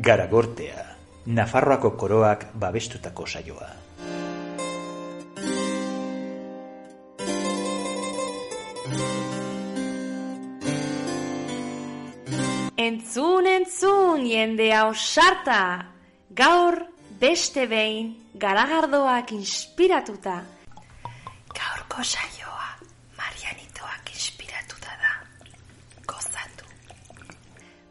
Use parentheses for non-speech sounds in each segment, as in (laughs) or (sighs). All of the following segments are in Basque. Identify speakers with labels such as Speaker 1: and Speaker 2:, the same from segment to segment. Speaker 1: Garagortea, Nafarroako koroak babestutako saioa.
Speaker 2: Entzun, entzun, jendea osarta! Gaur, beste behin, garagardoak inspiratuta. Gaurko saioa, Marianitoak inspiratuta da. Gozatu.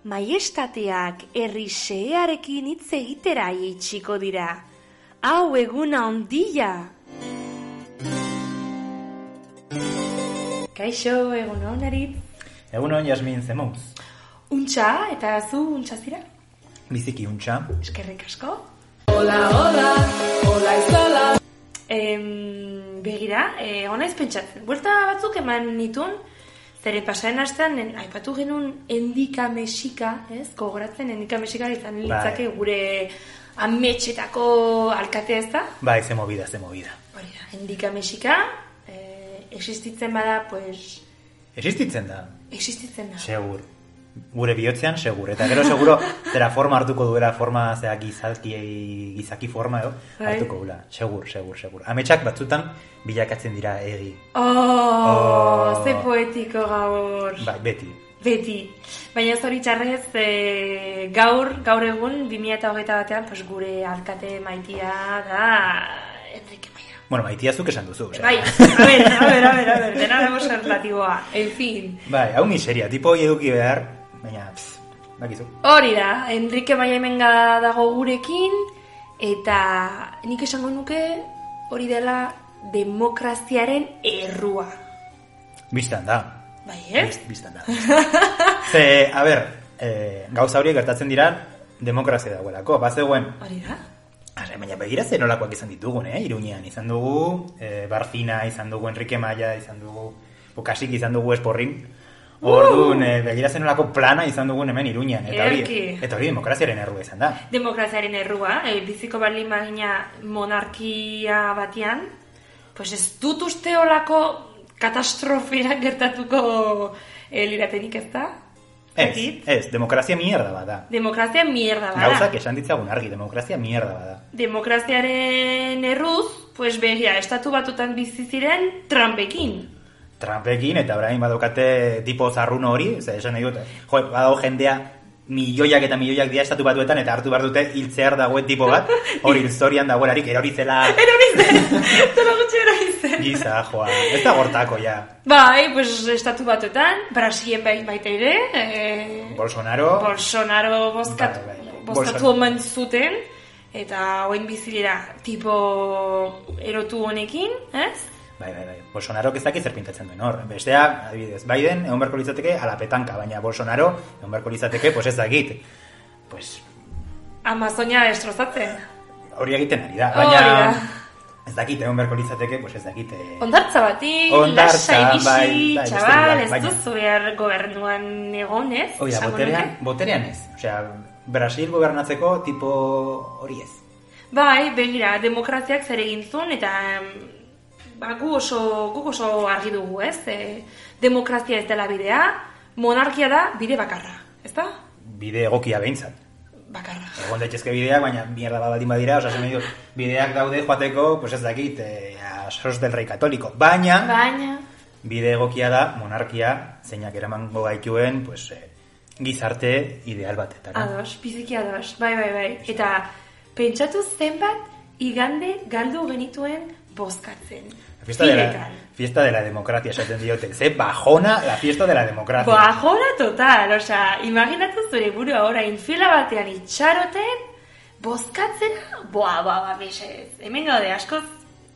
Speaker 2: Maiestateak herri xearekin hitz egitera itxiko dira. Hau eguna ondila! Kaixo, egun honarit.
Speaker 1: Egun hon Jasmin Zemuz.
Speaker 2: Untxa, eta zu untxa zira?
Speaker 1: Biziki untxa.
Speaker 2: Eskerrik asko.
Speaker 3: Hola, hola, hola izala.
Speaker 2: Em, begira, e, ona ez pentsatzen. Buelta batzuk eman nituen, zeren pasaren astean, en- aipatu genuen endika mesika, ez? Kogoratzen endika mesika izan
Speaker 3: Bai.
Speaker 2: litzake gure ametxetako alkatea ez da?
Speaker 1: Bai, ze movida, ze movida.
Speaker 2: Hori da, endika mesika, e, existitzen bada, pues,
Speaker 1: Existitzen da,
Speaker 2: existitzen da.
Speaker 1: segur. Gure bihotzean segur, eta gero seguro zera forma hartuko duela, forma zera gizalki, gizaki forma edo,
Speaker 2: Bai.
Speaker 1: hartuko gula. Segur, segur, segur. Ametsak batzutan bilakatzen dira egi.
Speaker 2: Oh,
Speaker 1: Oh.
Speaker 2: ze poetiko gaur.
Speaker 1: Bai, beti.
Speaker 2: Beti. Baina zoritxarrez e, gaur, gaur egun 2008 batean pues, gure alkate maitia da Enrique Maia.
Speaker 1: Bueno, maitiazuk esan duzu. osea.
Speaker 2: Bai, a ver, a ver, a ver, a ver, dena dago relatiboa. En fin.
Speaker 1: Bai, hau miseria, tipo hori eduki behar, baina, pff, bakizu.
Speaker 2: Hori da, Enrique Maia hemenga dago gurekin, eta nik esango nuke hori dela demokraziaren errua.
Speaker 1: Bistan da.
Speaker 2: Bai, ez?
Speaker 1: Bist- Bistan da. Ze, a ber, e, gauza hori gertatzen dira demokrazia dagoelako. Bazegoen,
Speaker 2: Hori da?
Speaker 1: Arre, baina begira zer nolakoak izan ditugun, eh? Iruñean izan dugu, eh, Barfina izan dugu, Enrique Maia izan dugu, Bokasik izan dugu Esporrin. Orduan, eh, begira zer nolako plana izan dugun hemen Iruñean. Eta hori,
Speaker 2: Erki.
Speaker 1: eta hori demokraziaren errua izan da.
Speaker 2: demokraziaren errua, e, biziko balin bagina monarkia batean, pues ez dut uste olako katastrofera gertatuko e, liratenik ez da?
Speaker 1: Ez,
Speaker 2: Dakit.
Speaker 1: ez, demokrazia mierda bada.
Speaker 2: Demokrazia mierda bada.
Speaker 1: Gauzak esan ditzagun argi, demokrazia mierda bada.
Speaker 2: Demokraziaren erruz, pues begia, estatu batutan bizi ziren Trumpekin.
Speaker 1: Trumpekin eta orain badaukate tipo zarruno hori, ze esan nahi dute. Jo, badau jendea milioiak eta milioiak dira estatu batuetan eta hartu behar dute hiltzear dagoen tipo bat,
Speaker 2: (laughs)
Speaker 1: hori hilzorian dagoelarik erori zela (laughs)
Speaker 2: Zara gutxi erori zen.
Speaker 1: Giza, joa, ez da gortako, ja.
Speaker 2: Bai, pues estatu batuetan, Brasilien bai, baita ere, e,
Speaker 1: Bolsonaro,
Speaker 2: Bolsonaro bozkatu,
Speaker 1: Bai, bai, bai.
Speaker 2: bozkatu
Speaker 1: Bolsonaro.
Speaker 2: omen zuten, eta oen bizilera tipo erotu honekin, ez?
Speaker 1: bai, bai, bai, Bolsonaro ez dakit zer pintatzen duen hor. Bestea, adibidez, Biden, egon beharko litzateke, ala petanka, baina Bolsonaro, egon beharko litzateke, pues ez dakit. Pues,
Speaker 2: Amazonia destrozatzen.
Speaker 1: hori egiten ari da,
Speaker 2: Hori
Speaker 1: baina...
Speaker 2: da.
Speaker 1: Ez dakit, egon beharko litzateke, pues ez dakit. eh,
Speaker 2: Ondartza bati,
Speaker 1: Hondartza,
Speaker 2: lasai bizi,
Speaker 1: bai, bai, beste
Speaker 2: txabal,
Speaker 1: bai,
Speaker 2: ez
Speaker 1: baina-
Speaker 2: duzu behar gobernuan egon, ez?
Speaker 1: Hoi da,
Speaker 2: Esango
Speaker 1: boterean,
Speaker 2: nuke?
Speaker 1: boterean ez. Osea, Brasil gobernatzeko tipo hori ez.
Speaker 2: Bai, begira, demokraziak zer egin zuen, eta mm, ba, gu oso, guk oso argi dugu, ez? E, demokrazia ez dela bidea, monarkia da bide bakarra, ez da?
Speaker 1: Bide egokia behintzat.
Speaker 2: Bakarra.
Speaker 1: Egon daitezke bideak, baina mierda bat baldin badira, osea, esan nahi dut, bideak daude joateko, pues ez dakit, eh, a sos del rei katoliko. Baina,
Speaker 2: Baina,
Speaker 1: bide egokia da monarkia, zeinak eramango gaituen, pues, eh, gizarte ideal batetara.
Speaker 2: Ados, biziki ados, bai, bai, bai. Eta pentsatu zenbat igande galdu genituen bozkatzen.
Speaker 1: La fiesta, de la,
Speaker 2: Pirekan.
Speaker 1: fiesta de la democracia, esaten diote. Ze bajona la fiesta de la democracia.
Speaker 2: Bajora Ba, total, osea, imaginatu zure burua orain fila batean itxaroten, bozkatzera, boa, boa, boa, mesedez. Hemen gaude askoz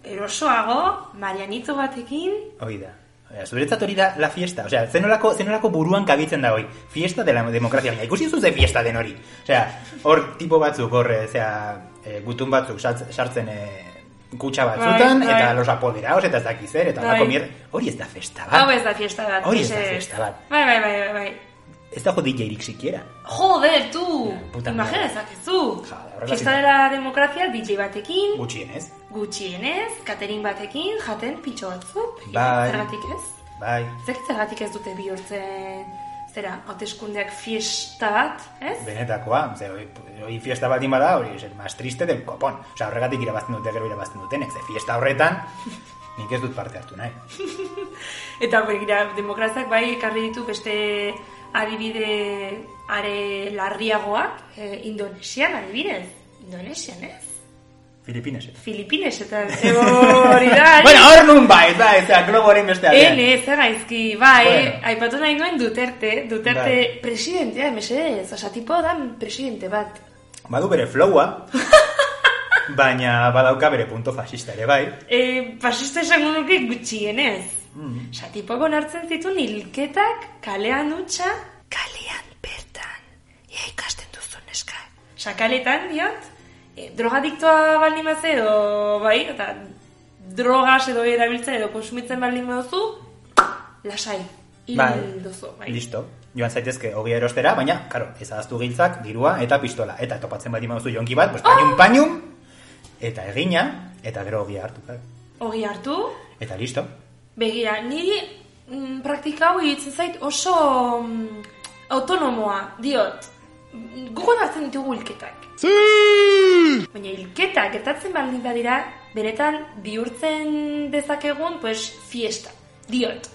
Speaker 2: erosoago, marianitzu batekin,
Speaker 1: Hoi da. hoi Osea, Zuretzat hori da la fiesta. Osea, zenolako, zenolako buruan kabitzen da hori. Fiesta de la demokrazia. Baina ikusi zu ze fiesta den hori. Osea, hor tipo batzuk, hor, eh, osea, eh, gutun batzuk sartz- sartzen eh, kutxa batzutan,
Speaker 2: Bai,
Speaker 1: eta
Speaker 2: bai.
Speaker 1: los apoderados, eta ez dakiz zer, eta
Speaker 2: Bai.
Speaker 1: holako mier... Hori ez da festa bat.
Speaker 2: Hau ez da fiesta bat.
Speaker 1: Hori ez da
Speaker 2: mesedez.
Speaker 1: fiesta bat.
Speaker 2: Bai, bai, bai, bai, bai.
Speaker 1: Ez dago DJ-rik sikiera.
Speaker 2: Joder, tu!
Speaker 1: Puta
Speaker 2: Imagina
Speaker 1: mierda.
Speaker 2: ezakezu.
Speaker 1: Ja, horrela
Speaker 2: Fiesta
Speaker 1: zin-
Speaker 2: de la demokrazia DJ batekin,
Speaker 1: Gutxienez.
Speaker 2: gutxienez, catering batekin, jaten pitxo batzuk.
Speaker 1: Bai.
Speaker 2: Zergatik ez?
Speaker 1: Bai.
Speaker 2: Zergatik zergatik ez dute bihurtzen, zera, hauteskundeak fiesta bat, ez?
Speaker 1: Benetakoa, ze, hori, hori fiesta bat bada, hori es el más triste del copón. Osa, horregatik irabazten dute gero irabazten dutenek, ze fiesta horretan, nik ez dut parte hartu nahi.
Speaker 2: Eta begira, demokraziak bai ekarri ditu beste adibide are larriagoak, eh, Indonesian adibidez. Indonesian, ez?
Speaker 1: Filipines. eh?
Speaker 2: Filipines
Speaker 1: (laughs)
Speaker 2: eta hori da. eh.
Speaker 1: bueno, hor nun bai, bai, ez da, globo horrein beste aldean.
Speaker 2: Ene, zer gaizki, bai,
Speaker 1: Bueno.
Speaker 2: aipatu nahi nuen duterte, duterte
Speaker 1: Bai.
Speaker 2: presidentea, mesedez, osa, tipo da presidente bat.
Speaker 1: Badu bere
Speaker 2: (laughs)
Speaker 1: flowa, baina badauka bere punto fascista ere bai.
Speaker 2: E, fasista esango nuke gutxienez. Mm. Osa, tipoko nartzen zituen hilketak, kalean utxa, kalean bertan, ia ikasten duzu neska. Osa, kaletan, diot, e, drogadiktoa baldin baz edo, bai, eta drogas edo erabiltzen edo konsumitzen baldin baduzu, lasai, hil duzu, bai.
Speaker 1: Listo. Joan zaitezke ogia erostera, baina, karo, ez aztu giltzak, dirua eta pistola. Eta topatzen baldin mauzu jonki bat, pues, pañum, pañum, eta egina, eta gero ogia hartu. claro.
Speaker 2: Ogi hartu,
Speaker 1: Eta listo.
Speaker 2: Begira, niri mm, praktika hau iruditzen zait oso mm, autonomoa, diot. Gugon hartzen ditugu hilketak. Baina hilketak gertatzen baldin badira, benetan bihurtzen dezakegun, pues, fiesta. Diot.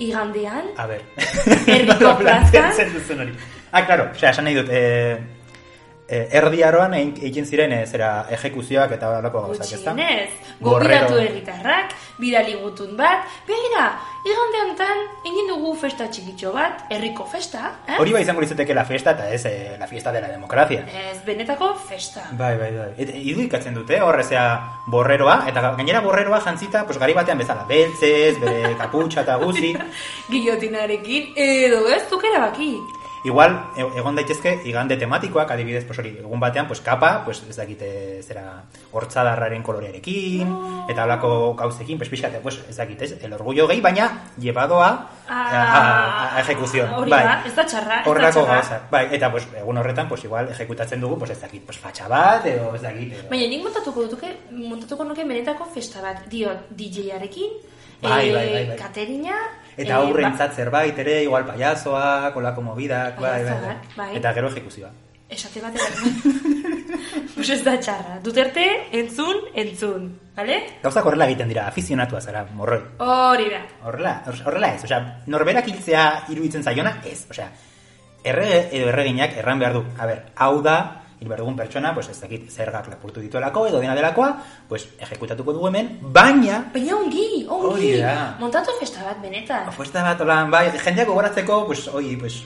Speaker 2: Igandean,
Speaker 1: A ber.
Speaker 2: (laughs) Erdiko
Speaker 1: Nola (laughs) planteatzen
Speaker 2: plazan?
Speaker 1: duzun hori. Ah, claro, osea, esan nahi dut, eh, eh, erdi aroan egin- egin ziren eh, zera ejekuzioak eta horrelako gauzak, ezta?
Speaker 2: gutxienez,
Speaker 1: Gorrero.
Speaker 2: gobiratu herritarrak, bidali gutun bat, begira, igande honetan, egin dugu festa txikitxo bat, herriko festa, eh?
Speaker 1: Hori bai izango litzateke la fiesta eta ez eh, la fiesta de la democracia.
Speaker 2: Ez, benetako festa.
Speaker 1: Bai, bai, bai. Eta irudikatzen dute, horre zea borreroa, eta ga- gainera borreroa jantzita, pues, gari batean bezala, beltzez, bere kaputxa eta
Speaker 2: (laughs)
Speaker 1: guzi.
Speaker 2: Gillotinarekin edo ez zuk erabaki.
Speaker 1: Igual, e- egon daitezke, igande tematikoak, adibidez, pues, hori, egun batean, pues, kapa, pues, ez dakite, zera, hortzadarraren kolorearekin, eta holako gauzekin, pues, pixkate, pues, ez dakite, ez, el orgullo gehi, baina, llevadoa a, a, a ejecución.
Speaker 2: Ah, Hori
Speaker 1: bai.
Speaker 2: da, ez da txarra, ez da
Speaker 1: Horrelako
Speaker 2: txarra.
Speaker 1: gauza. Bai, eta, pues, egun horretan, pues, igual, ejekutatzen dugu, pues, ez dakit, pues, fatxa bat, edo, ez dakit, edo.
Speaker 2: Baina nik montatuko dutuke, montatuko nuke benetako festa bat. Dio DJ-arekin,
Speaker 1: Bai,
Speaker 2: eh,
Speaker 1: bai, bai, bai.
Speaker 2: Katerina,
Speaker 1: Eta
Speaker 2: eh,
Speaker 1: aurrentzat zerbait ere, igual paiazoak, kolako mobidak, bai, bai, bai.
Speaker 2: Paiazoak, bai.
Speaker 1: Eta gero ejekuzioa.
Speaker 2: ba- Esate bat (laughs) Pues ez da txarra. Duterte, entzun, entzun. Bale?
Speaker 1: Gauzak horrela egiten dira, afizionatua zara, morroi.
Speaker 2: Hori da.
Speaker 1: Horrela, horrela ez, osea, norberak hiltzea iruditzen zaiona, ez, osea, errege edo erreginak erran behar du. A ber, hau da, hil behar dugun pertsona, pues ez dakit zergak lapurtu dituelako, edo dena delakoa, pues ejekutatuko du hemen, baina
Speaker 2: Baina ongi, ongi.
Speaker 1: Hori da.
Speaker 2: Montatu festa bat benetan.
Speaker 1: Apuesta bat, holan, bai, jendeak gogoratzeko, pues, oi, pues,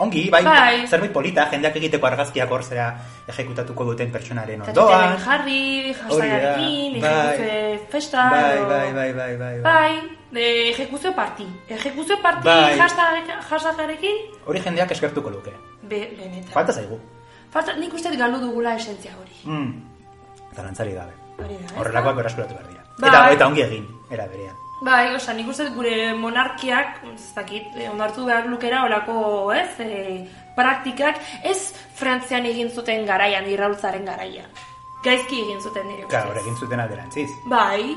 Speaker 1: ongi, bai,
Speaker 2: Bai.
Speaker 1: zerbait polita, jendeak egiteko argazkiak hor zera ejekutatuko duten pertsonaren
Speaker 2: Eta
Speaker 1: ondoan.
Speaker 2: Twitterren jarri,
Speaker 1: Hori da,
Speaker 2: hashtagarekin,
Speaker 1: bai.
Speaker 2: ejekuzio festa.
Speaker 1: Bai,
Speaker 2: edo-
Speaker 1: bai, bai, bai, bai, bai.
Speaker 2: Bai, de ejekuzio parti. Ejekuzio parti
Speaker 1: Bai.
Speaker 2: hashtag- hashtagarekin,
Speaker 1: Hori jendeak eskertuko luke.
Speaker 2: be, benetan.
Speaker 1: Falta zaigu.
Speaker 2: Falta, nik uste dut galdu dugula esentzia hori.
Speaker 1: Mm. Zalantzari gabe.
Speaker 2: Hori da, ez
Speaker 1: Horrelakoak
Speaker 2: da?
Speaker 1: beraskuratu behar dira.
Speaker 2: Bai.
Speaker 1: Eta, eta ongi egin, era berean.
Speaker 2: Bai, osa, nik uste dut gure monarkiak, ez dakit, eh, onartu behar lukera olako, ez, eh, praktikak, ez Frantzian egin zuten garaian, irraultzaren garaia. Gaizki egin zuten nire
Speaker 1: Claro, hor
Speaker 2: ustez.
Speaker 1: egin zuten alderantziz.
Speaker 2: Bai,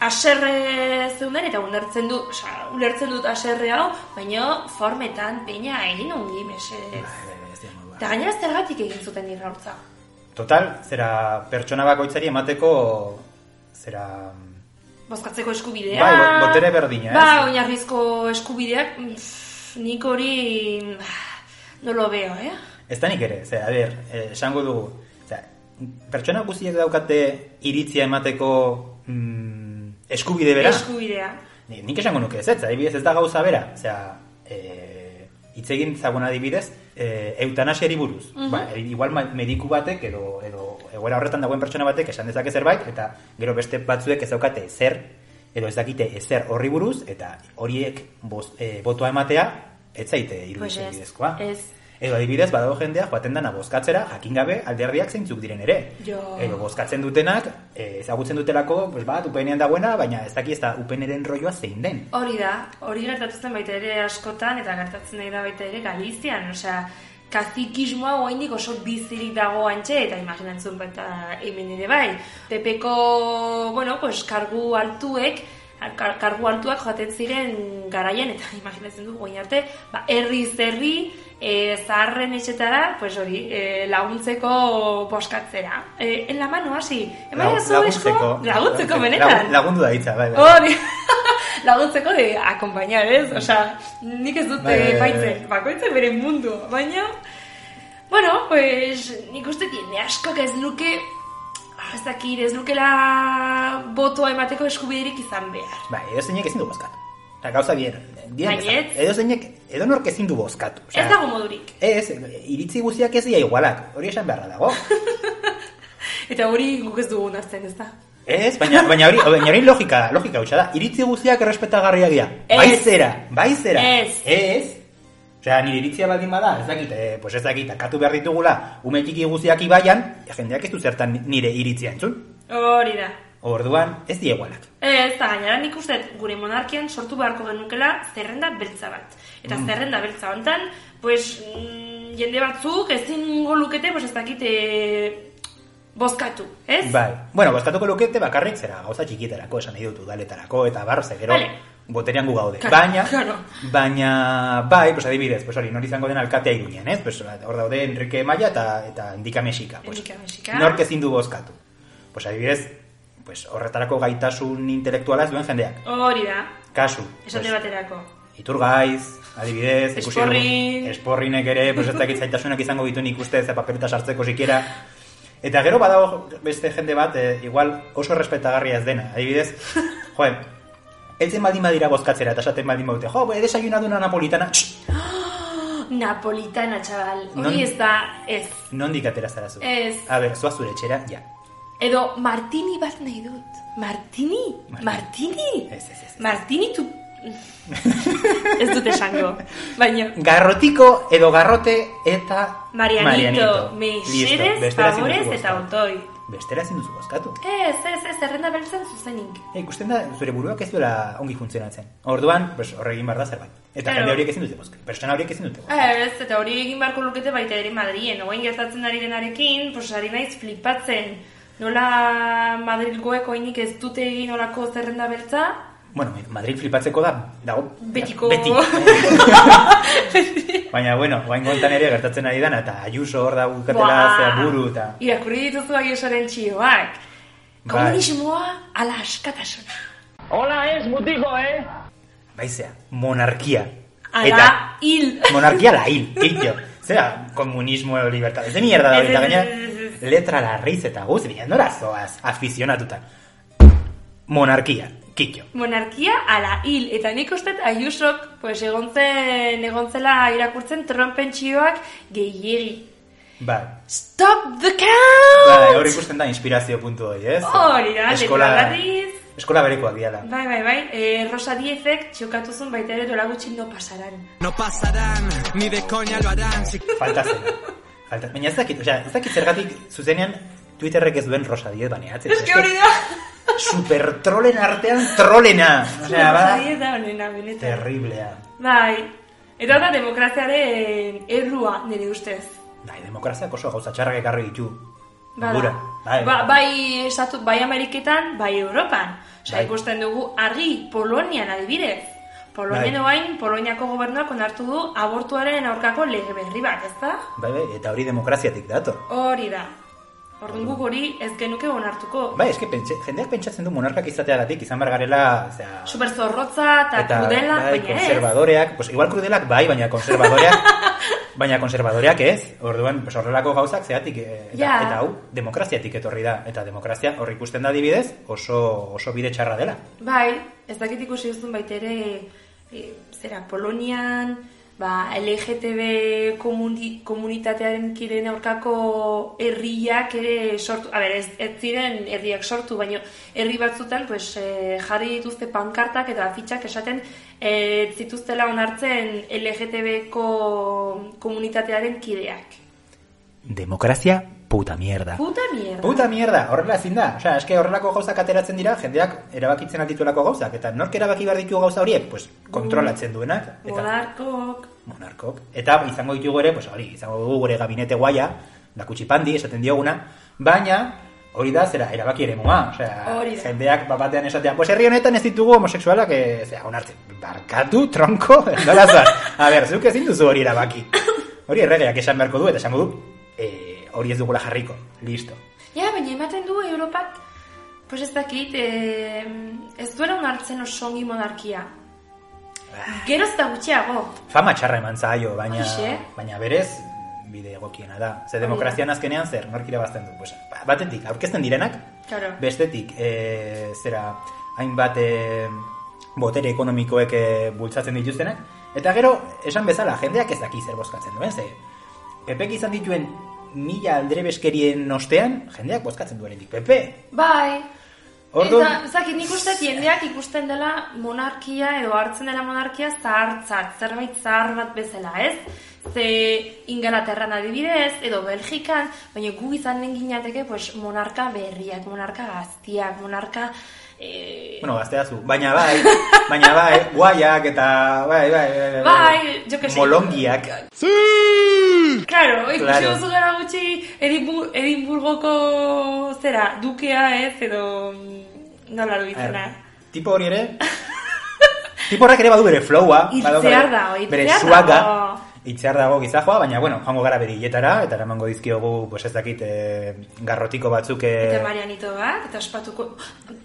Speaker 2: aserre zeuden eta ulertzen dut, osa, ulertzen dut aserre hau, baina formetan, peina, egin ongi, mesedez.
Speaker 1: Bai, bai, bai, ez dira modua.
Speaker 2: Eta gainera zergatik egin zuten irrautza.
Speaker 1: Total, zera, pertsona bakoitzari emateko, zera,
Speaker 2: Bozkatzeko eskubidea.
Speaker 1: Bai, bo- botere berdina, ez?
Speaker 2: Ba, oinarrizko eskubideak, pff, nik hori (sighs) bah, no lo veo, eh?
Speaker 1: Ez da nik ere, ze, a ber, eh, esango dugu. Ze, pertsona guztiek daukate iritzia emateko mm, eskubide bera.
Speaker 2: Eskubidea.
Speaker 1: Ni- Nik esango nuke ez, ez, adibidez ez da gauza bera. Zera, eh, hitz egin zagon adibidez, eh, eutanasiari buruz. ba, igual ma- mediku batek edo, edo egoera horretan dagoen pertsona batek esan dezake zerbait, eta gero beste batzuek ez daukate zer edo ez dakite ezer horri buruz, eta horiek boz, e, botoa ematea, ez zaite iruditzen
Speaker 2: Pues ez,
Speaker 1: bidezkoa.
Speaker 2: ez.
Speaker 1: Edo adibidez, badago jendea joaten dana bozkatzera, jakin gabe alderdiak zeintzuk diren ere.
Speaker 2: Jo.
Speaker 1: Edo bozkatzen dutenak, e, ezagutzen dutelako, pues bat, upenean dagoena, baina ez daki ez da upeneren roioa zein den.
Speaker 2: Hori da, hori gertatzen zen baita ere askotan eta gertatzen ari da baita ere Galizian, osea, kazikismoa oraindik oso bizirik dago antxe eta imaginatzen baita hemen ere bai. Pepeko, bueno, pues kargu altuek kar- kargu altuak joaten ziren garaian eta (laughs) imaginatzen du orain arte, ba herri zerri e, zaharren etxetara, pues hori, e, laguntzeko boskatzera. E, en la mano hasi. Eman
Speaker 1: Lagun-
Speaker 2: duzu esko? Laguntzeko benetan. Oh.
Speaker 1: Lagun- Lagundu da hitza, bai, bai.
Speaker 2: Hori, (laughs) laguntzeko de acompañar, ez? Osa, nik ez dut
Speaker 1: Mm. Bai, bai,
Speaker 2: eh,
Speaker 1: bai,
Speaker 2: baitzen, bakoitzen bere mundu, baina... Bueno, pues, nik uste jende askok ez luke, ah, ez dakit, ez lukela botoa emateko eskubiderik izan behar.
Speaker 1: Bai, edo zeinek ezin du bozkatu. Eta gauza bien, bien
Speaker 2: Baietz.
Speaker 1: esan. edo zeinek, edo nork ezin du bozkatu. Osea,
Speaker 2: Ez dago modurik.
Speaker 1: Ez, iritzi guztiak ez dira igualak, hori esan beharra dago.
Speaker 2: Eta hori guk ez dugun azten, ez da?
Speaker 1: Ez, baina, baina hori, baina hori logika, logika hutsa da. Iritzi guztiak errespetagarriak dira.
Speaker 2: Ez.
Speaker 1: Bai zera, bai zera.
Speaker 2: Ez.
Speaker 1: Ez. Osea, nire iritzia baldin bada, ez dakit, eh, pues ez dakit, akatu behar ditugula, ume txiki guztiak ibaian, jendeak ez du zertan nire iritzia entzun.
Speaker 2: Hori da.
Speaker 1: Orduan, ez dira igualak.
Speaker 2: Ez, eta gainera nik uste dut gure monarkian sortu beharko genukela zerrenda beltza bat. Eta
Speaker 1: Mm.
Speaker 2: zerrenda beltza honetan, pues, mm, jende batzuk ezingo lukete, pues ez dakit, eh, bozkatu, ez?
Speaker 1: Bai. Bueno, bozkatuko lukete bakarrik zera gauza txikietarako esan nahi dut udaletarako eta bar, ze gero
Speaker 2: Bale.
Speaker 1: boterean gu gaude.
Speaker 2: Claro,
Speaker 1: baina,
Speaker 2: claro.
Speaker 1: baina, bai, pues adibidez, pues hori, nori izango den alkatea iruñen, ez? Pues, hor daude Enrique Maia eta, eta Endika Mexika. Pues,
Speaker 2: Endika Mexika.
Speaker 1: Nork ezin du bozkatu. Pues adibidez, pues, horretarako gaitasun intelektuala ez duen jendeak.
Speaker 2: Hori da,
Speaker 1: Kasu.
Speaker 2: esate
Speaker 1: pues,
Speaker 2: baterako.
Speaker 1: Iturgaiz, adibidez, ikusi dugu-
Speaker 2: Esporrin.
Speaker 1: esporrinek ere, pues ez dakit zaitasunak izango ditu nik uste, ze papeleta sartzeko sikiera. Eta gero badago beste jende bat, eh, igual oso respetagarria ez dena,
Speaker 2: (laughs)
Speaker 1: adibidez, joen, eltzen baldin badira bozkatzera, eta esaten baldin badute, jo, be, desayunaduna napolitana, txt,
Speaker 2: Napolitana, txabal,
Speaker 1: Non-
Speaker 2: hori ez da, ez.
Speaker 1: nondik atera zara zu?
Speaker 2: Ez.
Speaker 1: A ber, zoaz zure etxera, ja.
Speaker 2: Edo martini bat nahi dut. Martini? Martini?
Speaker 1: Ez, ez, ez, ez.
Speaker 2: Martini tu... (laughs) ez dut esango, baina...
Speaker 1: Garrotiko edo garrote eta
Speaker 2: Marianito,
Speaker 1: Listo,
Speaker 2: meixeres,
Speaker 1: bestera ezin
Speaker 2: favorez
Speaker 1: duzu
Speaker 2: eta
Speaker 1: bozkatu.
Speaker 2: autoi.
Speaker 1: Bestera ezin duzu bozkatu.
Speaker 2: Ez, ez, ez, zerrenda beltzen zuzenik.
Speaker 1: E, ikusten da, zure buruak ez duela ongi funtzionatzen. Orduan, pues, horre egin behar da zerbait. Eta
Speaker 2: Claro.
Speaker 1: jende horiek ezin dute bozka. Pertsona horiek ezin dute bozka.
Speaker 2: Ez, eta hori egin beharko lukete baita ere Madrien. Oain gertatzen ari denarekin, pues ari naiz flipatzen. Nola Madrilgoek oinik ez dute egin olako zerrenda beltza,
Speaker 1: Bueno, Madrid flipatzeko da, dago...
Speaker 2: betiko... (laughs)
Speaker 1: Beti. Baina, bueno, guain gontan ere gertatzen ari dana, eta Ayuso hor da bukatela
Speaker 2: Buah!
Speaker 1: zea buru, eta...
Speaker 2: Irakurri dituzu aiosoren txioak.
Speaker 1: Bai.
Speaker 2: Komunismoa ala askatasuna.
Speaker 4: Hola es mutico, ¿eh?
Speaker 1: Baizea, monarkia.
Speaker 2: Ala hil.
Speaker 1: Monarkia la hil, hiltio. Zera, komunismo edo libertad. Ez de mierda da
Speaker 2: Ez,
Speaker 1: hori, eta
Speaker 2: ez,
Speaker 1: gaina
Speaker 2: ez, ez,
Speaker 1: letra larriz eta guz, baina nora zoaz, afizionatuta. Monarkia, kitio.
Speaker 2: Monarkia ala hil, eta nik uste dut Ayusok, pues egon zen, egon zela irakurtzen trompen txioak gehiegi.
Speaker 1: Bai.
Speaker 2: Stop the
Speaker 1: Bai,
Speaker 2: count!
Speaker 1: hor ikusten da inspirazio puntu hori, ez?
Speaker 2: Hori da, letra larriz.
Speaker 1: Eskola berekoak dira da.
Speaker 2: Bai, bai, bai, e, Rosa Diezek txokatu zuen baita ere dola gutxi no pasaran.
Speaker 5: No pasarán, ni de coña lo harán. Si
Speaker 1: Falta zen. Falta. Baina ez dakit, osea, ez dakit zergatik zuzenean Twitterrek ez duen Rosa Diez baneatzen.
Speaker 2: Ez que hori da!
Speaker 1: Super trolen artean trolena.
Speaker 2: (laughs)
Speaker 1: Osea, ba-
Speaker 2: Rosa
Speaker 1: bada,
Speaker 2: Diez da honena, benetan.
Speaker 1: terriblea.
Speaker 2: Bai, eta da demokraziaren errua nire ustez.
Speaker 1: Bai, demokraziak oso gauza txarrak ekarri ditu.
Speaker 2: Bada.
Speaker 1: Gura. Bai,
Speaker 2: ba, bai, estatu, bai Ameriketan, bai Europan. Osa,
Speaker 1: Bai.
Speaker 2: ikusten dugu argi Polonian adibidez. Polonian
Speaker 1: Bai.
Speaker 2: oain, Poloniako gobernuak onartu du abortuaren aurkako lege berri bat, ez da?
Speaker 1: Bai, bai, eta hori demokraziatik dator.
Speaker 2: Hori da. Orduan guk hori ez genuke onartuko.
Speaker 1: Bai, eske pentsa, jendeak pentsatzen du monarkak izateagatik izan behar garela, osea,
Speaker 2: Super zorrotza eta, krudela,
Speaker 1: bai,
Speaker 2: baina ez.
Speaker 1: konservadoreak, pues, igual krudelak bai, baina konservadoreak,
Speaker 2: (laughs)
Speaker 1: baina konservadoreak ez. Orduan, pues, horrelako gauzak zeatik, eh, eta,
Speaker 2: Ja.
Speaker 1: eta hau, demokraziatik etorri da. Eta demokrazia hor ikusten da adibidez, oso, oso bide txarra dela.
Speaker 2: Bai, ez dakit ikusi duzun baita ere, e, zera, Polonian, ba, LGTB komuni, komunitatearen kiren aurkako herriak ere sortu, a ber, ez, ez ziren herriak sortu, baina herri batzutan pues, eh, jarri dituzte pankartak eta afitxak esaten eh, ez zituztela onartzen LGTB-ko komunitatearen kideak.
Speaker 1: Demokrazia puta mierda.
Speaker 2: Puta mierda.
Speaker 1: Puta mierda, horrela ezin da. Osea, eske horrelako gauzak ateratzen dira, jendeak erabakitzen altituelako gauzak. Eta nork erabaki behar ditu gauza horiek? Pues, kontrolatzen duenak. Eta,
Speaker 2: Monarkok.
Speaker 1: monarkok. Eta izango ditugu ere, pues, hori, izango dugu gure gabinete guaia, da kutsipandi, esaten dioguna, baina hori da, zera, erabaki ere moa. Osea,
Speaker 2: Hori da.
Speaker 1: jendeak bat batean esatean, pues herri honetan ez ditugu homosexualak, e, zera, onartzen, barkatu, (laughs) tronko, nola zan. A ber, zuk ezin duzu hori erabaki. Hori erregeak esan beharko du, eta esango du, e, hori ez dugula jarriko, listo.
Speaker 2: Ja, baina ematen du Europak, pues ez dakit, eh, ez duela onartzen oso ongi monarkia. Geroz eta gutxiago.
Speaker 1: Fama txarra eman zaio, baina,
Speaker 2: Horixe.
Speaker 1: baina berez, bide egokiena da. Ze demokrazian azkenean zer, nork irabazten du. Pues, ba- batetik, aurkezten direnak,
Speaker 2: Claro.
Speaker 1: Bestetik, e, zera, hainbat e, botere ekonomikoek e, bultzatzen dituztenak, eta gero, esan bezala, jendeak ez daki zer bozkatzen duen, ze, PPk izan dituen mila aldrebeskerien ostean, jendeak bozkatzen duenetik, PP.
Speaker 2: Bai.
Speaker 1: Orduan-
Speaker 2: Eta, ez dakit, nik uste jendeak ikusten dela monarkia edo hartzen dela monarkia zahartzat, zerbait zahar bat bezala, ez? Ze Ingalaterran adibidez, edo Belgikan, baina gu izan den ginateke pues, monarka berriak, monarka gaztiak, monarka... Eh,
Speaker 1: Bueno, gaztea zu, baina bai, baina bai, guaiak eta bai, bai, bai,
Speaker 2: Bai, jo que sé.
Speaker 1: molongiak,
Speaker 2: Claro, ikusi
Speaker 1: Claro.
Speaker 2: duzu gara gutxi Edimbu- Edimburgoko zera, dukea ez edo mm, nola lo izena.
Speaker 1: tipo hori ere, (laughs) tipo horrek ere badu bere flowa, badu
Speaker 2: Itzear
Speaker 1: bere-
Speaker 2: dago,
Speaker 1: bere
Speaker 2: itzear
Speaker 1: suaga,
Speaker 2: dago.
Speaker 1: itzear dago gizajoa, baina, bueno, joango gara beriletara, eta eramango dizkiogu, pues ez dakit, eh, garrotiko batzuk eh,
Speaker 2: Eta Marianito bat, eta ospatuko...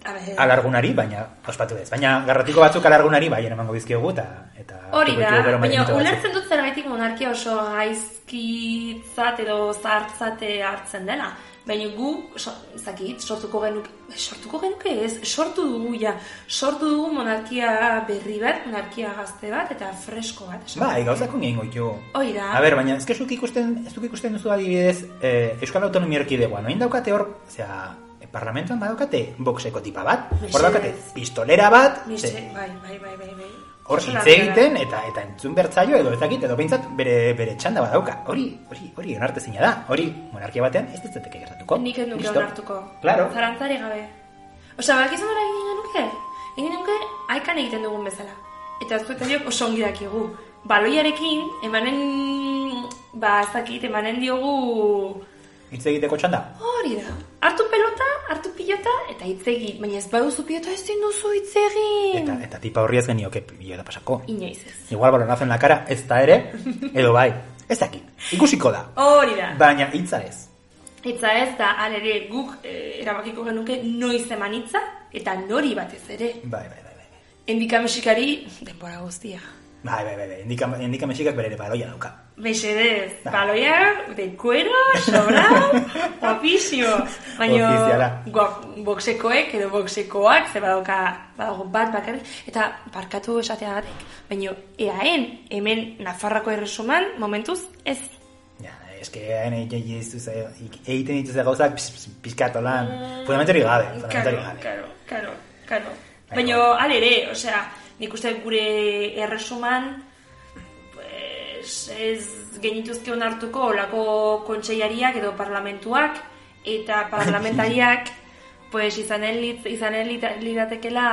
Speaker 2: A ber,
Speaker 1: alargunari, baina, ospatu ez, baina garrotiko batzuk alargunari, bai, eramango dizkiogu, eta... eta
Speaker 2: hori da,
Speaker 1: hartuko ditugu gero
Speaker 2: baina
Speaker 1: Marianito batzuk.
Speaker 2: ulertzen dut zergaitik monarkia oso gaizkitzat edo zahartzate hartzen dela. Baina gu, so, zakit, sortuko genuke, sortuko genuke ez, sortu dugu ja, sortu dugu monarkia berri bat, monarkia gazte bat, eta fresko bat. esan.
Speaker 1: Bai, gauzak ongein goitu.
Speaker 2: Hoi da.
Speaker 1: A ber, baina, ezke zuk ikusten, ez duk ikusten duzu adibidez, eh, Euskal Autonomia Erkidegoan, oin daukate hor, zera, eh, parlamentuan badaukate boxeko tipa bat, hor
Speaker 2: Mesedez.
Speaker 1: daukate pistolera bat, Ba,
Speaker 2: Mixe,
Speaker 1: ze,
Speaker 2: bai, bai, bai, bai, bai.
Speaker 1: hor
Speaker 2: Oso
Speaker 1: hitz
Speaker 2: larria da.
Speaker 1: egiten, eta eta entzun bertzaio, edo ez dakit, edo behintzat bere, bere txanda badauka. Hori, hori, hori onartezina da, hori monarkia batean ez ditzateke gertatuko.
Speaker 2: Nik ez nuke
Speaker 1: Listo.
Speaker 2: onartuko.
Speaker 1: Claro.
Speaker 2: Zarantzari gabe. Osea, bak izan dara egin genuke? Egin genuke, aikan egiten dugun bezala. Eta ez dut horiok oso ongi dakigu. Baloiarekin, emanen, ba, ez dakit, emanen diogu
Speaker 1: Hitz egiteko txanda.
Speaker 2: Hori da. Hartu pelota, hartu pilota, eta hitz egin. Baina ez baduzu pilota, ezin duzu hitz egin.
Speaker 1: Eta, eta tipa horri ez genioke bilota pasako.
Speaker 2: Inoiz ez.
Speaker 1: Igual balonazo en la cara, ez da ere, edo bai, ez dakit, ikusiko da.
Speaker 2: Hori da.
Speaker 1: Baina hitza ez.
Speaker 2: Hitza ez da, alere guk eh, erabakiko genuke noiz eman hitza, eta nori batez ere.
Speaker 1: Bai, bai, bai, bai.
Speaker 2: Endika mesikari, denbora guztia.
Speaker 1: Bai, bai, bai, bai. Indika, indika mexikak bere baloia dauka.
Speaker 2: Mesedez,
Speaker 1: Bai.
Speaker 2: baloia, de cuero, sobrao, ofizio. Baina,
Speaker 1: Ofiziala.
Speaker 2: guak- boxekoek edo boxekoak, ze badauka, badago bat bakarrik, eta barkatu esateagatik. Baina, eaen, hemen Nafarrako erresuman, momentuz, ez.
Speaker 1: Ja, eske hain egiten dituzte egiten dituzte gauzak pis- pis- pizkat holan.
Speaker 2: Mm,
Speaker 1: Fundamentari gabe, fundamentari
Speaker 2: Karo,
Speaker 1: gabe.
Speaker 2: karo, karo, karo.
Speaker 1: Bai,
Speaker 2: Baina,
Speaker 1: bai.
Speaker 2: alere, osea, nik uste dut gure erresuman, pues, ez genituzke onartuko olako kontseiariak edo parlamentuak, eta
Speaker 1: (laughs)
Speaker 2: parlamentariak, pues, izanen, lit, izanen lita- liratekela,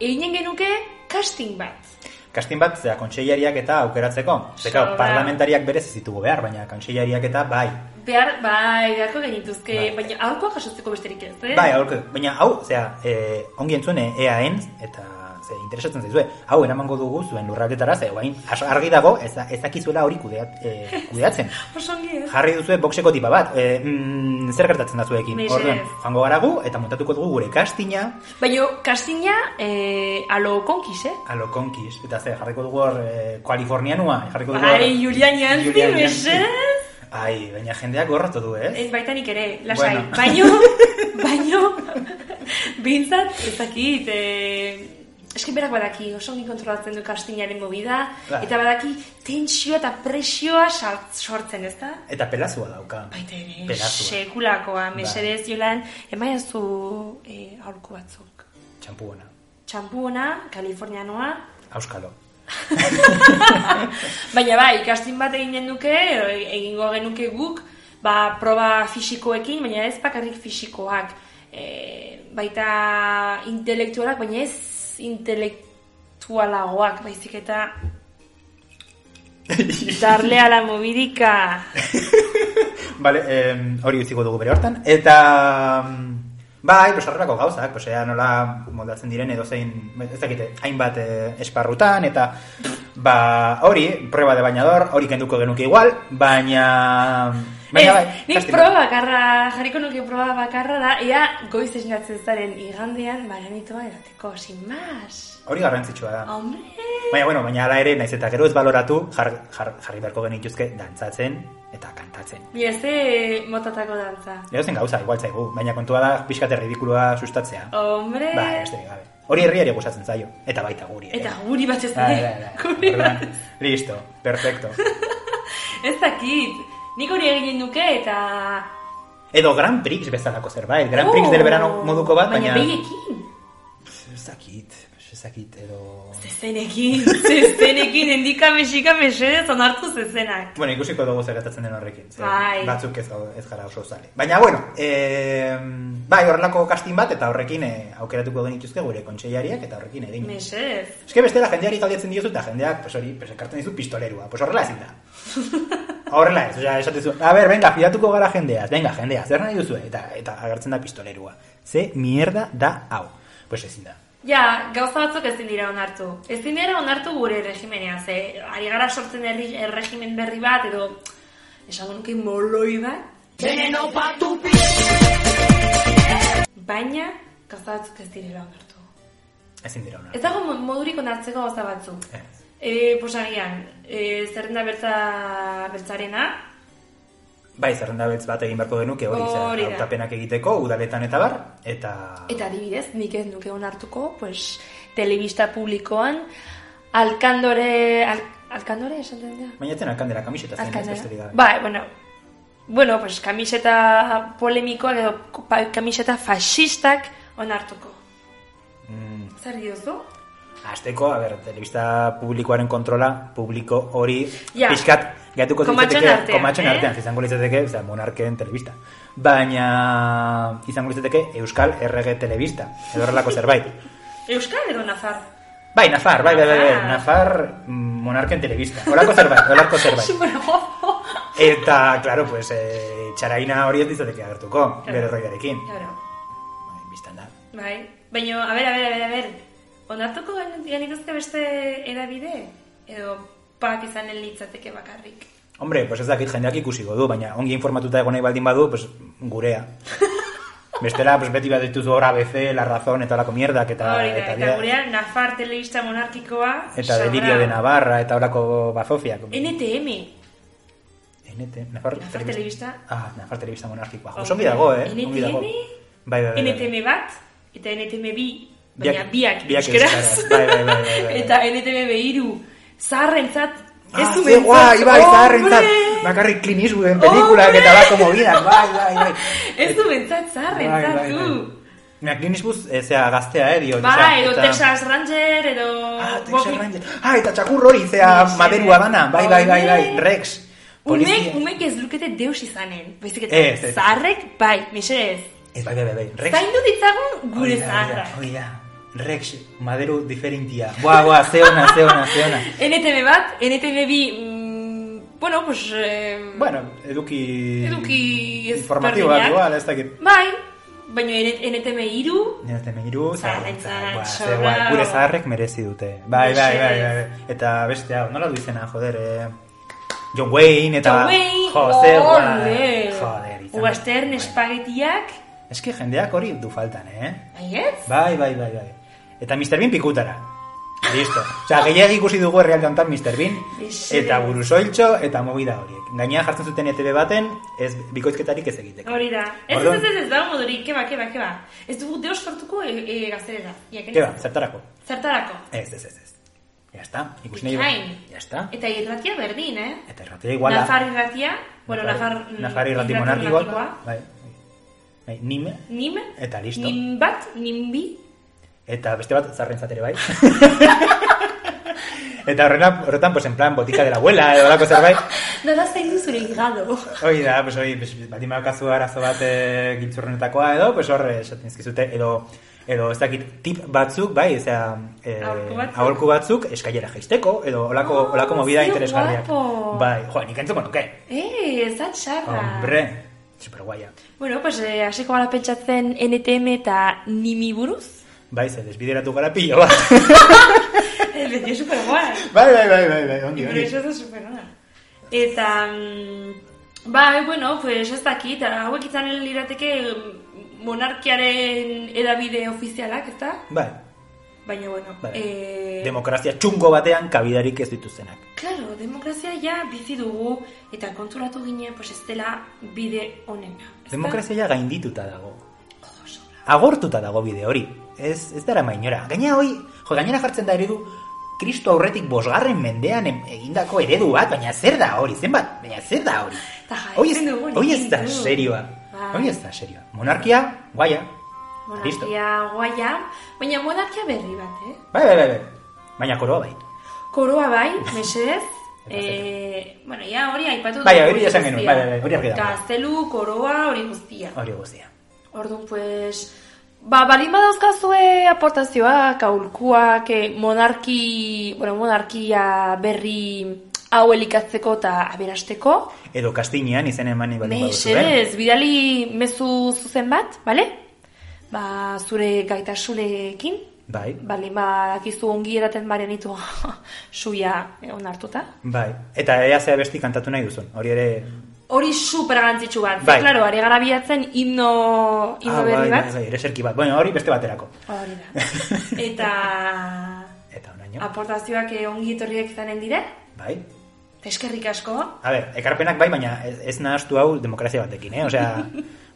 Speaker 2: eginen genuke casting bat.
Speaker 1: Kastin bat, zera, kontseilariak eta aukeratzeko. Zeka,
Speaker 2: Sobra.
Speaker 1: parlamentariak berez ez ditugu behar, baina kontseilariak eta bai.
Speaker 2: Behar, bai, beharko genituzke,
Speaker 1: Bai.
Speaker 2: baina aurkoa jasotzeko besterik ez, eh?
Speaker 1: Bai, aurke, baina hau, zera, e, ongi entzune EAN, eta ze, interesatzen zaizue, hau eramango dugu zuen lurraldetara, ze, guain, argi dago, ez, da- ez dakizuela hori kudeat, e, kudeatzen.
Speaker 2: Oso ongi ez.
Speaker 1: jarri duzue boxeko tipa bat. E, mm, zer gertatzen da zuekin?
Speaker 2: Mesedez.
Speaker 1: Orduan, joango gara gu eta montatuko dugu gure kastina,
Speaker 2: Baina, castinga, eh, alo konkis, eh?
Speaker 1: alo konkiz. Eta ze, jarriko dugu hor eh, kalifornianua, jarriko dugu hor...
Speaker 2: Ai, Julian Jantzi,
Speaker 1: Julian Jantzi.
Speaker 2: mesedez.
Speaker 1: Ai, baina jendeak gorratu du, ez?
Speaker 2: Ez baita nik ere, lasai.
Speaker 1: Bueno.
Speaker 2: Baino, baino, bintzat, ez dakit, e, eski berak badaki, oso ongi kontrolatzen du kastinaren movida,
Speaker 1: Bai.
Speaker 2: eta badaki tensioa eta presioa sart- sortzen, ez da?
Speaker 1: Eta pelazua dauka.
Speaker 2: Baita ere,
Speaker 1: Pelazua.
Speaker 2: sekulakoa, mesedez jolan, emaia zu e, aurku batzuk.
Speaker 1: Txampuona.
Speaker 2: Txampu ona, kalifornianoa,
Speaker 1: Auskalo.
Speaker 2: baina bai, ikastin bat egin duke, egingo genuke guk, ba, proba fisikoekin, baina ez bakarrik fisikoak, e, baita intelektualak, baina ez intelektualagoak, baizik eta darle a la movidika.
Speaker 1: Vale, em, hori utziko dugu bere hortan. Eta... mm, Bai, pues horrelako gauzak, pues ea nola moldatzen diren edo zein, ez dakite, hainbat eh, esparrutan, eta ba, hori, prueba de bañador, hori kenduko genuke igual, baina... mm,
Speaker 2: Ez,
Speaker 1: baina
Speaker 2: Eh,
Speaker 1: bai,
Speaker 2: nik
Speaker 1: casting.
Speaker 2: proba bakarra, jarriko nuke proba bakarra da, ea goiz esnatzen zaren igandean baranitoa edateko, sin mas.
Speaker 1: Hori garrantzitsua
Speaker 2: Oh.
Speaker 1: da.
Speaker 2: Hombre!
Speaker 1: Baina, bueno, baina ala ere, naiz eta gero ez baloratu, jar, jar, jarri beharko genituzke dantzatzen eta kantatzen.
Speaker 2: Bi ez ze motatako dantza.
Speaker 1: Leo zen gauza, igual zaigu, baina kontua da pixkat erridikulua sustatzea.
Speaker 2: Oh. Hombre!
Speaker 1: Bai, besterik gabe. Hori herriari gustatzen zaio, eta baita guri. ere.
Speaker 2: Eta guri bat ez
Speaker 1: Bai,
Speaker 2: (laughs) ere.
Speaker 1: bai, bai.
Speaker 2: Guri
Speaker 1: Orduan,
Speaker 2: bat.
Speaker 1: Listo, perfecto.
Speaker 2: Ez dakit. Nik hori egin nuke eta...
Speaker 1: Edo Grand Prix bezalako zerbait, Grand Prix
Speaker 2: Oh!
Speaker 1: del verano moduko bat, baina...
Speaker 2: Baina begiekin.
Speaker 1: Ez dakit, ez dakit, edo...
Speaker 2: Zezenekin, (laughs) zezenekin, endika mesika mesedez onartu zezenak.
Speaker 1: Bueno, ikusiko dugu zer gertatzen den horrekin. ze
Speaker 2: Bai.
Speaker 1: Batzuk ez, gau- ez gara oso zale. Baina, bueno, eh, bai, horrelako kastin bat, eta horrekin eh, aukeratuko genituzke gure kontseilariak, eta horrekin egin.
Speaker 2: Mesedez.
Speaker 1: Ez que bestela jendeari galdetzen diozu, eta jendeak, pues hori, pues ekartzen dizu pistolerua. Pues horrela ezin
Speaker 2: (laughs)
Speaker 1: da. horrela ez, osea, esatezu, a ber, venga, fidatuko gara jendeaz, venga, jendea, zer nahi duzu, eta, eta agertzen da pistolerua. Ze mierda da hau. Pues ezin da.
Speaker 2: Ja, gauza batzuk ezin dira onartu. Ezin dira onartu gure regimenean, ze ari gara sortzen erri, erregimen berri bat, edo esango nuke moloi bat. Baina, gauza batzuk ez direla onartu.
Speaker 1: Ezin dira Eh, ona.
Speaker 2: Ez dago mo- modurik onartzeko gauza batzuk.
Speaker 1: Ez.
Speaker 2: E, posagian, e, zerrenda bertza, bertzarena,
Speaker 1: Bai, zerrenda betz bat egin beharko genuke hori, zer,
Speaker 2: Hori da.
Speaker 1: hautapenak egiteko, udaletan eta bar, eta...
Speaker 2: eta adibidez, nik ez nuke onartuko, pues, telebista publikoan, alkandore, al, alkandore esaten da?
Speaker 1: Baina zen alkandera kamiseta zen, ez
Speaker 2: Alcántara.
Speaker 1: besterik gabe.
Speaker 2: Bai, bueno. Bueno, pues kamiseta polemikoak edo pa- kamiseta fasistak onartuko. Ba-
Speaker 1: Mm,
Speaker 2: Zer diozu?
Speaker 1: Azteko, a ber, telebista publikoaren kontrola, publiko hori
Speaker 2: Ja.
Speaker 1: pixkat gatuko
Speaker 2: Komatxoen artean,
Speaker 1: komatxon
Speaker 2: eh?
Speaker 1: artean, izango litzateke, osea, monarken telebista. Baina izango litzateke Euskal Errege telebista, edo
Speaker 2: (laughs)
Speaker 1: horrelako zerbait.
Speaker 2: Euskal edo Nafar?
Speaker 1: Bai, Nafar, bai, bai, bai, bai,
Speaker 2: Nafar.
Speaker 1: Nafar mm, monarken telebista. Horako zerbait, horako
Speaker 2: (laughs)
Speaker 1: zerbait.
Speaker 2: Super gozo.
Speaker 1: Eta, claro, pues, eh, txaraina hori ez litzateke agertuko, bere roiarekin.
Speaker 2: Claro.
Speaker 1: Bai, Bistan da.
Speaker 2: Bai. Baina, a ber, a ber, a ber, a ber. Onartuko gen- genituzke beste edabide? Edo pak izanen litzateke bakarrik.
Speaker 1: Hombre, pues ez dakit jendeak ikusiko du, baina ongi informatuta egon nahi baldin badu, pues
Speaker 2: (laughs)
Speaker 1: gurea. Bestela, pues beti bat dituzu hor ABC, La Razón, eta lako mierdak, eta...
Speaker 2: Hori da,
Speaker 1: bia-
Speaker 2: eta gurean Nafar telebista monarkikoa
Speaker 1: eta bai.
Speaker 2: sobra.
Speaker 1: Delirio de Navarra, eta horako bazofiak.
Speaker 2: NTM.
Speaker 1: NT, Nafar,
Speaker 2: Nafar telebista.
Speaker 1: Ah, Nafar telebista monarkikoa.
Speaker 2: Hombre,
Speaker 1: Oso ongi dago, eh?
Speaker 2: NTM?
Speaker 1: Ongi dago. Bai, bai, bai, bai.
Speaker 2: NTM bat eta NTM bi, baina
Speaker 1: Biak-
Speaker 2: biak,
Speaker 1: biak euskaraz.
Speaker 2: euskaraz.
Speaker 1: Bai, bai, bai, bai, bai.
Speaker 2: Eta NTM behiru, zaharrentzat, ez
Speaker 1: Ah,
Speaker 2: du
Speaker 1: ze guai, bai, zaharrentzat.
Speaker 2: zaharrentzat.
Speaker 1: Bakarrik Clint Eastwooden pelikulak eta bako mobidak, bai, bai, bai.
Speaker 2: (laughs) Ez du bentzat zaharrentzat, du.
Speaker 1: Baina Clint Eastwood, eh, zea, gaztea, eh, dio.
Speaker 2: Ba, edo
Speaker 1: eta-
Speaker 2: Texas Ranger, edo...
Speaker 1: Ah, Texas
Speaker 2: Walking-
Speaker 1: Ranger. Ah, eta txakur hori, zea
Speaker 2: Mesedez.
Speaker 1: maderua dana. Bai, bai, bai, bai,
Speaker 2: Hombre.
Speaker 1: Rex.
Speaker 2: Umek,
Speaker 1: Polizia.
Speaker 2: umek ez lukete deus izanen. Baizik
Speaker 1: Ez,
Speaker 2: eta
Speaker 1: ez.
Speaker 2: zaharrek, bai, mesedez.
Speaker 1: Ez, bai, bai, bai, bai, Rex.
Speaker 2: Zaindu ditzagun
Speaker 1: Hori
Speaker 2: gure
Speaker 1: da,
Speaker 2: zaharrak.
Speaker 1: Hori da, hori da. Rex, maderu diferentia. Boa, boa, zeona, zeona, zeona.
Speaker 2: NTM bat, NTM bi, mm, bueno, pues... Eh,
Speaker 1: Bueno, eduki...
Speaker 2: Eduki ez
Speaker 1: Informatibo bat,
Speaker 2: berdinak.
Speaker 1: igual, ez dakit.
Speaker 2: Bai, baina ere- NTM iru,
Speaker 1: Nire teme iru,
Speaker 2: Zaharrentzat,
Speaker 1: zaharrentzat,
Speaker 2: sobrao.
Speaker 1: guai, gure zaharrek merezi dute. Bai, bai, bai, bai,
Speaker 2: Mesedez.
Speaker 1: bai. Eta beste hau, nola du izena, joder, eh? John Wayne, eta...
Speaker 2: John Wayne,
Speaker 1: Jose, guai,
Speaker 2: ole!
Speaker 1: joder, izan. Bai.
Speaker 2: Western espagetiak,
Speaker 1: Ez que jendeak hori du faltan, eh?
Speaker 2: baietz?
Speaker 1: Bai, bai, bai, bai. Eta Mr. Bean pikutara. Listo. Osea, gehiagi ikusi dugu herrialde honetan Mr. Bean,
Speaker 2: Mesedez.
Speaker 1: eta burusoiltxo, eta movida horiek. Gainea jartzen zuten ETV baten, ez bikoizketarik ez egiteko.
Speaker 2: Hori da. Ez ez
Speaker 1: Orduan-
Speaker 2: ba, ez ez dago modurik, keba, keba, keba. Ez dugu deus sortuko e, e, eh, gaztelera. Iaken
Speaker 1: Ke ba,
Speaker 2: ez.
Speaker 1: zertarako.
Speaker 2: Zertarako?
Speaker 1: Ez, ez, ez, ez. Ya está, ikusi nahi
Speaker 2: Ikain.
Speaker 1: Ya está.
Speaker 2: Eta irratia berdin, eh?
Speaker 1: Eta erratia iguala.
Speaker 2: Nafar irratia, bueno, Nafar...
Speaker 1: Nafar
Speaker 2: mm,
Speaker 1: irrati
Speaker 2: irrati
Speaker 1: monarkikoa.
Speaker 2: monarkikoa.
Speaker 1: Bai. Bai, nime.
Speaker 2: Nim,
Speaker 1: Eta listo.
Speaker 2: nim bat, nim bi,
Speaker 1: Eta beste bat zarrentzat ere
Speaker 2: (laughs)
Speaker 1: bai. Eta horrena, horretan, pues, en plan, botika de la abuela, edo lako zerbait.
Speaker 2: nola zaindu zure higado.
Speaker 1: Hoi da, pues, hoi, pues, baldin badaukazu arazo bat e, giltzurrenetakoa edo, pues, horre, esaten dizkizute, edo, edo, ez dakit, tip batzuk, bai, ezea, e,
Speaker 2: Aholku batzuk.
Speaker 1: aholku batzuk, eskailera jaisteko, edo, olako,
Speaker 2: Ah,
Speaker 1: olako movida
Speaker 2: ze
Speaker 1: interesgarriak.
Speaker 2: guapo.
Speaker 1: Bai, joa, nik entzuko nuke.
Speaker 2: Eh, ez da
Speaker 1: Ah.
Speaker 2: txarra.
Speaker 1: Hombre, super guaia.
Speaker 2: Bueno, pues, eh, hasiko gara pentsatzen NTM eta nimi buruz.
Speaker 1: Bai, ze, desbideratu gara pilo, bat.
Speaker 2: (laughs) Eh, Beti super guai.
Speaker 1: (laughs) bai, bai, bai, bai, bai, ongi,
Speaker 2: Pero
Speaker 1: ongi.
Speaker 2: eso da super ona. Eta, mm, bai, bueno, pues ez dakit, hauek izan lirateke mm, monarkiaren edabide ofizialak, ezta?
Speaker 1: Bai,
Speaker 2: Baina, bueno,
Speaker 1: bai.
Speaker 2: eh,
Speaker 1: Demokrazia txungo batean kabidarik ez dituztenak.
Speaker 2: Claro, demokrazia ja bizi dugu eta konturatu ginen pues ez dela bide honena. ezta?
Speaker 1: Demokrazia ja gaindituta dago. Agortuta dago bide hori. Ez, ez dara mainora. Gaina hoi, jo, gainera jartzen da eredu, Kristo aurretik bosgarren mendean em- egindako eredu bat, baina zer da hori, zenbat, baina zer da hori.
Speaker 2: Eta jarraitzen
Speaker 1: Hoi ez,
Speaker 2: dugu
Speaker 1: hoi ez da
Speaker 2: nikindu.
Speaker 1: serioa.
Speaker 2: Bai.
Speaker 1: Hoi ez da serioa. Monarkia, guaia. Listo.
Speaker 2: Monarkia guaia, baina monarkia berri bat, eh?
Speaker 1: Bai, bai, bai, bai. Baina koroa bai.
Speaker 2: Koroa bai,
Speaker 1: (laughs)
Speaker 2: mesedez.
Speaker 1: Eta
Speaker 2: eh, bueno, ja hori aipatu
Speaker 1: Bai,
Speaker 2: dugu
Speaker 1: hori
Speaker 2: hori
Speaker 1: esan genuen,
Speaker 2: guztia.
Speaker 1: bai, bai, bai, hori argi dago. Bai.
Speaker 2: Gaztelu, koroa, hori guztia.
Speaker 1: Hori guztia.
Speaker 2: Orduan, pues... Ba, balin badauzkazue aportazioak, aholkuak, eh, monarki, bueno, monarkia berri hau elikatzeko eta aberasteko.
Speaker 1: Edo kastinean izen eman ibali eh?
Speaker 2: Mesedez, bidali mezu zuzen bat, bale? Ba, zure gaitasunekin,
Speaker 1: Bai,
Speaker 2: bale, ba, dakizu ongi eraten baren ditu (laughs) suia eh, onartuta.
Speaker 1: bai. Eta ea zea besti kantatu nahi duzun. Hori ere...
Speaker 2: Hori super garrantzitsu bat, ze,
Speaker 1: Bai.
Speaker 2: claro, ari gara bilatzen himno, himno
Speaker 1: Ah,
Speaker 2: berri
Speaker 1: bai,
Speaker 2: bat.
Speaker 1: bai, bai, ereserki bat. Bueno, hori beste baterako.
Speaker 2: Hori da.
Speaker 1: (laughs)
Speaker 2: Eta
Speaker 1: Eta onaino.
Speaker 2: aportazioak eh, ongi etorriak izanen dire,
Speaker 1: Bai.
Speaker 2: eta eskerrik asko.
Speaker 1: A ber, ekarpenak bai, baina ez, ez nahastu hau demokrazia batekin, eh?
Speaker 2: (laughs)
Speaker 1: Osea,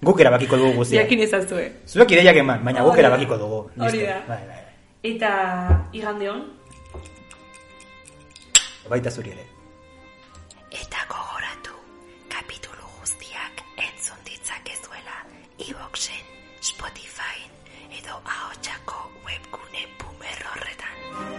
Speaker 1: guk erabakiko dugu guztia.
Speaker 2: Jakin ezazue.
Speaker 1: Zuek ideiak eman, baina guk
Speaker 2: Hori da.
Speaker 1: erabakiko dugu. Listo.
Speaker 2: Hori da.
Speaker 1: Bai, bai, bai.
Speaker 2: Eta igande hon.
Speaker 1: Baita zuri ere.
Speaker 6: Eta gogoratu, kapitulu guztiak entzun ditzakezuela iBoxen, Spotifyen edo ahotsako webgune bumer horretan.